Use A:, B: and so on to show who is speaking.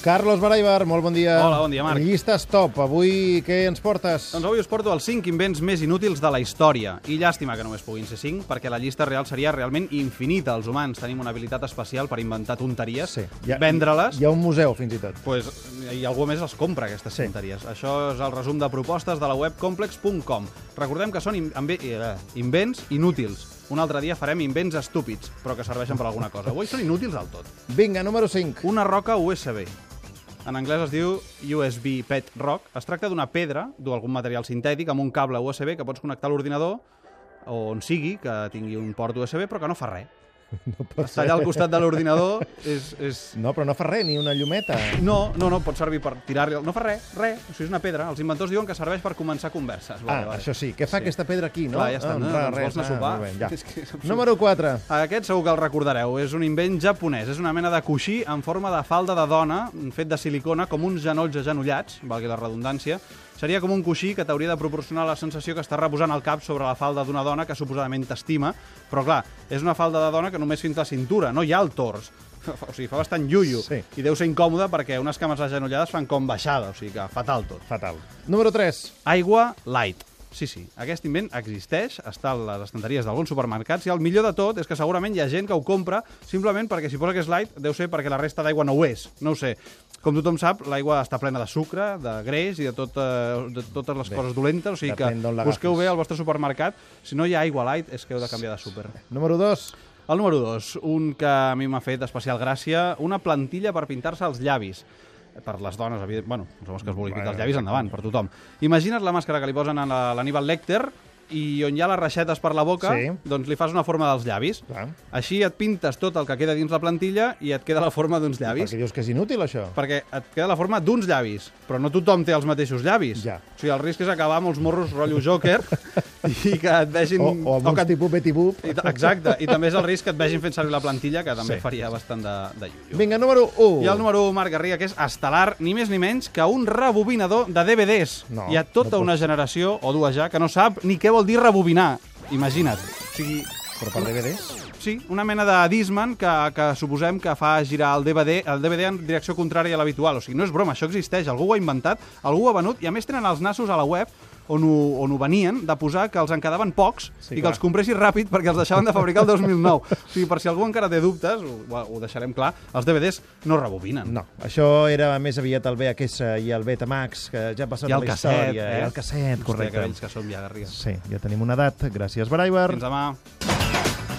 A: Carlos Baraibar, molt bon dia.
B: Hola, bon dia, Marc.
A: Llistes top. Avui què ens portes?
B: Doncs avui us porto els 5 invents més inútils de la història. I llàstima que només puguin ser 5, perquè la llista real seria realment infinita. Els humans tenim una habilitat especial per inventar tonteries, sí. ja, vendre-les...
A: Hi ha un museu, fins i tot.
B: Pues, I algú més els compra, aquestes
A: Sí.
B: sí. tonteries. Això és el resum de propostes de la web complex.com. Recordem que són in amb- eh, invents inútils. Un altre dia farem invents estúpids, però que serveixen per alguna cosa. Avui són inútils del tot.
A: Vinga, número 5.
B: Una roca USB. En anglès es diu USB Pet Rock. Es tracta d'una pedra, d'algun material sintètic, amb un cable USB que pots connectar a l'ordinador o on sigui, que tingui un port USB, però que no fa res. No Uh, Està allà al costat de l'ordinador, és, és...
A: No, però no fa res, ni una llumeta.
B: No, no, no, pot servir per tirar-li... el- No fa res, res. O sigui, és una pedra. Els inventors diuen que serveix per començar converses.
A: Ah, això sí. Què fa
B: Sí.
A: aquesta pedra aquí, no?
B: Clar, ja està,
A: Ah,
B: no?
A: res,
B: Doncs vols anar
A: res.
B: a sopar?
A: molt bé, ja.
B: És que és absurd.
A: Número 4.
B: Aquest segur que el recordareu, és un invent japonès. És una mena de coixí en forma de falda de dona, fet de silicona, com uns genolls agenollats, valgui la redundància. Seria com un coixí que t'hauria de proporcionar la sensació que està reposant el cap sobre la falda d'una dona que suposadament t'estima, però clar, és una falda de dona que només fins la cintura, no hi ha el tors. O sigui, fa bastant iuio.
A: Sí.
B: I deu ser incòmode perquè unes cames agenollades fan com baixada, o sigui que fatal tot.
A: Fatal. Número 3.
B: Aigua light. Sí, sí, aquest invent existeix, està a les estanteries d'alguns supermercats i el millor de tot és que segurament hi ha gent que ho compra simplement perquè si posa que és light deu ser perquè la resta d'aigua no ho és, no ho sé. Com tothom sap, l'aigua està plena de sucre, de greix i de, tot, eh, de totes les coses dolentes, o sigui que
A: depèn d'on l'agafis.
B: busqueu bé al vostre supermercat. Si no hi ha aigua light, és que heu de canviar de súper.
A: Número 2.
B: El número 2, un que a mi m'ha fet especial gràcia, una plantilla per pintar-se els llavis per les dones, evident... bueno, els homes que es vulguin pintar els llavis, endavant, per tothom. Imagina't la màscara que li posen a la- l'Aníbal Lecter i on hi ha les reixetes per la boca,
A: Sí.
B: doncs li fas una forma dels llavis.
A: Clar.
B: Així et pintes tot el que queda dins la plantilla i et queda la forma d'uns llavis.
A: Perquè dius que és inútil, això.
B: Perquè et queda la forma d'uns llavis, però no tothom té els mateixos llavis.
A: Ja.
B: O sigui, el risc és acabar amb els morros rotllo Joker i que et vegin...
A: O, o amb
B: que
A: uns
B: et
A: tipus Betty Boop.
B: i ta- Exacte, i també és el risc que et vegin fent servir la plantilla, que també
A: Sí. Uh.
B: sí. faria bastant de, de llullo.
A: Vinga, número 1.
B: I el número 1, Marc Garriga, que és estel·lar, ni més ni menys que un rebobinador de DVDs.
A: No,
B: Hi ha
A: no
B: tota
A: pot
B: una generació, o dues ja, que no sap ni què vol dir rebobinar. Imagina't. O sigui,
A: Però per DVDs?
B: sí, una mena de Disman que, que suposem que fa girar el DVD el DVD en direcció contrària a l'habitual. O sigui, no és broma, això existeix, algú ho ha inventat, algú ho ha venut, i a més tenen els nassos a la web on ho, on ho venien, de posar que els en quedaven pocs
A: Sí,
B: sí, i que
A: clar.
B: els compressis ràpid perquè els deixaven de fabricar el 2009. O sigui, per si algú encara té dubtes, ho, ho deixarem clar, els DVDs no rebobinen.
A: No, això era més aviat el VHS i el Betamax, que ja ha passat
B: I
A: a
B: el
A: tota la
B: casset,
A: història.
B: eh?
A: I el casset,
B: Hòstia, que
A: correcte.
B: vells que som ja, Garriga.
A: Sí, ja tenim una edat. Gràcies, Baraiber.
B: Fins demà.